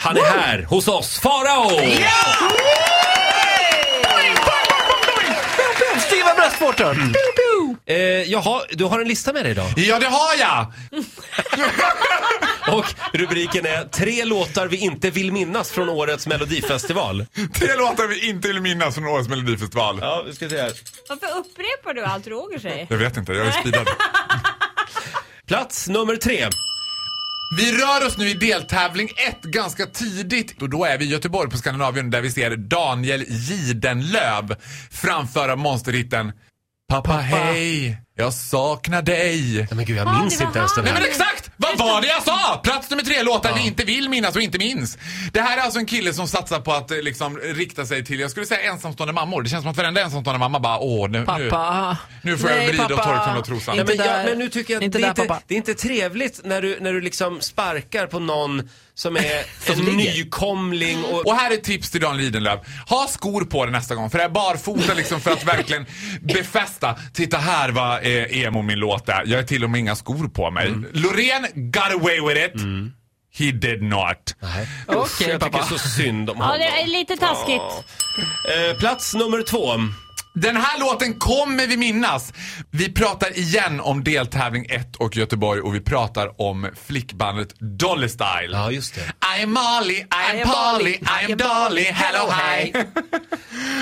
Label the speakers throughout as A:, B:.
A: Han är här hos oss, Farao!
B: Stiva bröstvårtor!
A: Eh, jaha, du har en lista med dig idag.
B: Ja, det har jag!
A: Och rubriken är Tre låtar vi inte vill minnas från årets melodifestival.
C: Tre låtar vi inte vill minnas från årets melodifestival.
A: Ja, vi ska se här.
D: Varför upprepar du allt Roger säger?
C: Jag vet inte, jag är speedad.
A: Plats nummer tre.
C: Vi rör oss nu i deltävling 1 ganska tidigt och då är vi i Göteborg på Skandinavien där vi ser Daniel Gidenlöv framföra monsterhitten Pappa hej, jag saknar dig.
A: Nej men gud, jag
D: Ja,
A: minns
D: det var
A: inte ens den
C: Nej
A: här.
C: men exakt! Vad var det jag sa? Plats nummer tre, låtar vi inte vill minnas och inte minns. Det här är alltså en kille som satsar på att eh, liksom rikta sig till, jag skulle säga ensamstående mammor. Det känns som att varenda ensamstående mamma bara åh nu,
E: Pappa.
C: nu, nu får jag
E: Nej,
C: vrida och
E: pappa.
C: torka mig trosan.
A: Nej, men,
E: Inte
A: jag,
E: där.
A: men nu tycker jag att
E: Inte
A: det, är
E: där,
A: inte,
E: pappa.
A: det är inte trevligt när du, när du liksom sparkar på någon som är en
E: ligger.
A: nykomling och...
C: Och här är ett tips till Dan Lidenlöf. Ha skor på dig nästa gång, för det är barfota liksom för att verkligen befästa. Titta här vad eh, emo min låt är. Jag har till och med inga skor på mig. Loreen got away with it. He did not.
E: Okej,
A: jag
E: pappa.
A: tycker så synd om
D: Ja,
A: honom.
D: det är lite taskigt.
A: Eh, plats nummer två.
C: Den här låten kommer vi minnas. Vi pratar igen om deltävling 1 och Göteborg och vi pratar om flickbandet Dolly Style.
A: Ja, just det.
C: I am Molly, I am Polly, I am Dolly, hello hi.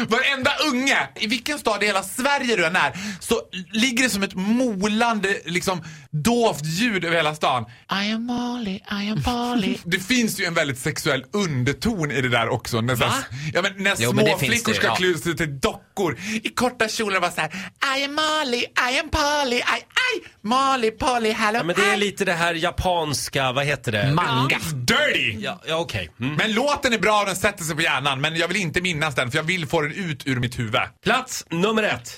C: Varenda unge, i vilken stad i hela Sverige du än är, så ligger det som ett molande, liksom dovt ljud över hela stan. I am Molly, I am Polly. det finns ju en väldigt sexuell underton i det där också. När, så här-
A: Va?
C: ja, men när
A: Jo,
C: små
A: men det finns
C: flickor
A: det,
C: ska
A: ja.
C: klä ut sig till dockor i korta kjolar och vara så här. I am Molly, I am Polly, I, I, Molly, Polly, hello
A: Ja, men det är
C: hi.
A: lite det här japanska, vad heter det?
E: Manga.
C: Dirty!
A: Ja, ja okej. Mm.
C: Men låten är bra och den sätter sig på hjärnan men jag vill inte minnas den för jag vill få den ut ur mitt huvud.
A: Plats nummer ett.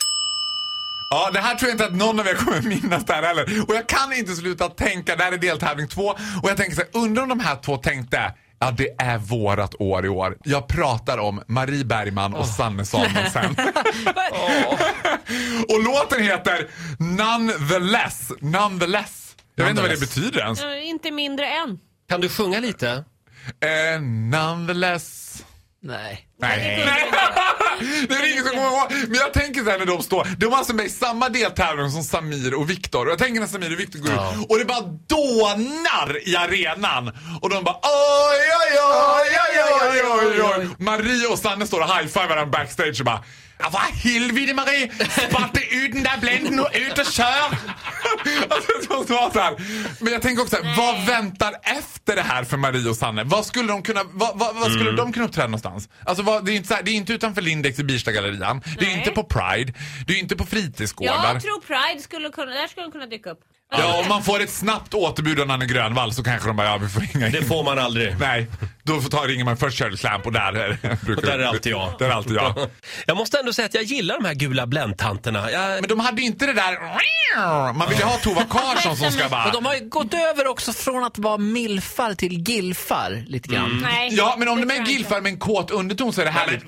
C: Ja, det här tror jag inte att någon av er kommer minnas där heller. Och jag kan inte sluta tänka, det här är deltävling två och jag tänker så här, undrar om de här två tänkte Ja, det är vårat år i år. Jag pratar om Marie Bergman och Sanne Samuelsson. och låten heter Nonetheless. Nonetheless. Jag vet inte vad det
A: Nonetheless.
C: betyder ens.
D: Ja, Inte mindre än.
A: Kan du sjunga lite?
C: Eh, nonetheless.
E: Nej.
C: Nej. Det är ingen som kommer ihåg. Men jag tänker så här när de står. De var alltså med i samma deltävling som Samir och Viktor. Och jag tänker när Samir och Viktor går
A: Ja.
C: ut och det bara dånar i arenan. Och de bara oj, oj, oj, oj, oj, oj, oj, oj. Marie och Sanne står och high-fivar varandra backstage och bara Ja, vad helvete Marie! Spatte ut den där bländen och ut och kör! Alltså, det måste vara så här. Men jag tänker också så här, vad väntar efter det här för Marie och Sanne? Vad skulle de kunna, vad, vad, vad skulle de kunna uppträda någonstans? Alltså, vad, det, är inte så här, det är inte utanför Lindex i Birstagallerian. Det är
D: Nej.
C: inte på Pride. Det är inte på fritidsgårdar.
D: Jag tror Pride skulle kunna, där skulle de kunna dyka upp.
C: Ja, om man får ett snabbt återbud av Nanne Grönvall så kanske de bara, ja vi får ringa in.
A: Det får man aldrig.
C: Nej, då får ta, ringer man först Shirley Clamp och där är det- brukar
A: Och där är alltid jag.
C: Där är alltid jag.
A: Jag måste ändå säga att jag gillar de här gula bländtanterna. Jag...
C: Men de hade ju inte det där... Man vill ju ha Tova Karlsson som ska bara...
E: Men de har ju gått över också från att vara milfar till gilfar lite grann.
C: Mm.
D: Nej.
C: Ja, men om
D: det
C: de är
D: tror jag inte.
C: gilfar med en kåt underton så är det härligt.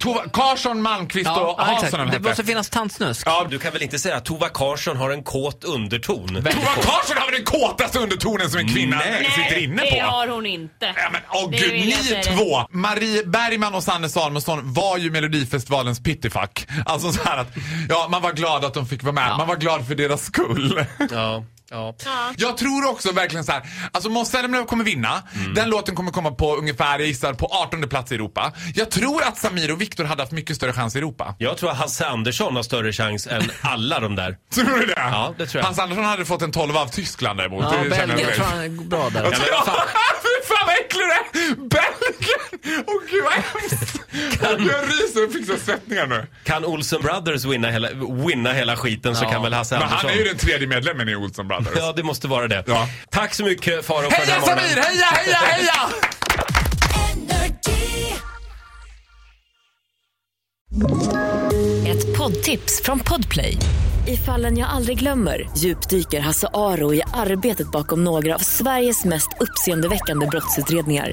C: Tova Karlsson, Malmqvist
E: Ja,
C: och
E: ja,
C: Hansson
E: exakt.
C: de
E: Det måste
C: hette.
E: finnas tantsnusk.
A: Ja, du kan väl inte säga att Tova Karsson har en kåt underton?
C: Tova Karlsson har väl den kåtaste undertonen som en kvinna sitter inne på?
D: det har hon inte.
C: Ja, men, åh
D: Det
C: gud,
D: vill jag
C: ni
D: säga.
C: två! Marie Bergman och Sanne Salmonsson var ju Melodifestivalens pittifack. Alltså så här att, ja, man var glad att de fick vara med. Man var glad för deras skull.
A: Ja, ja.
C: Jag tror också verkligen så här, alltså Måns Zelmerlöw kommer vinna.
A: Mm.
C: Den låten kommer komma på ungefär, jag gissar, på 18 plats i Europa. Jag tror att Samir och Viktor hade haft mycket större chans i Europa.
A: Jag tror att Hasse Andersson har större chans än alla de där.
C: Tror du det?
A: Ja, det tror jag.
C: Hans Andersson hade fått en 12 av Tyskland däremot.
E: Ja,
C: Det känner
E: Belgien. Jag
C: jag
E: tror
C: direkt.
E: han är bra där.
C: Jag
E: också.
C: tror- Ja, Fy fan vad äcklig du är! Belgien! Åh gud vad hemskt! Jag ryser och fick så här svettningar nu.
A: Kan Olsen Brothers vinna hela, winna hela skiten så kan väl Hasse
C: Men
A: Andersson...
C: han är ju den tredje medlemmen i Olsen Brothers.
A: Ja, det måste vara det.
C: Ja.
A: Tack så mycket Farao för den här
C: Heja
A: morgonen.
C: Samir! Heja, heja, heja!
F: Ett poddtips från Podplay. I fallen jag aldrig glömmer djupdyker Hasse Aro i arbetet bakom några av Sveriges mest uppseendeväckande brottsutredningar.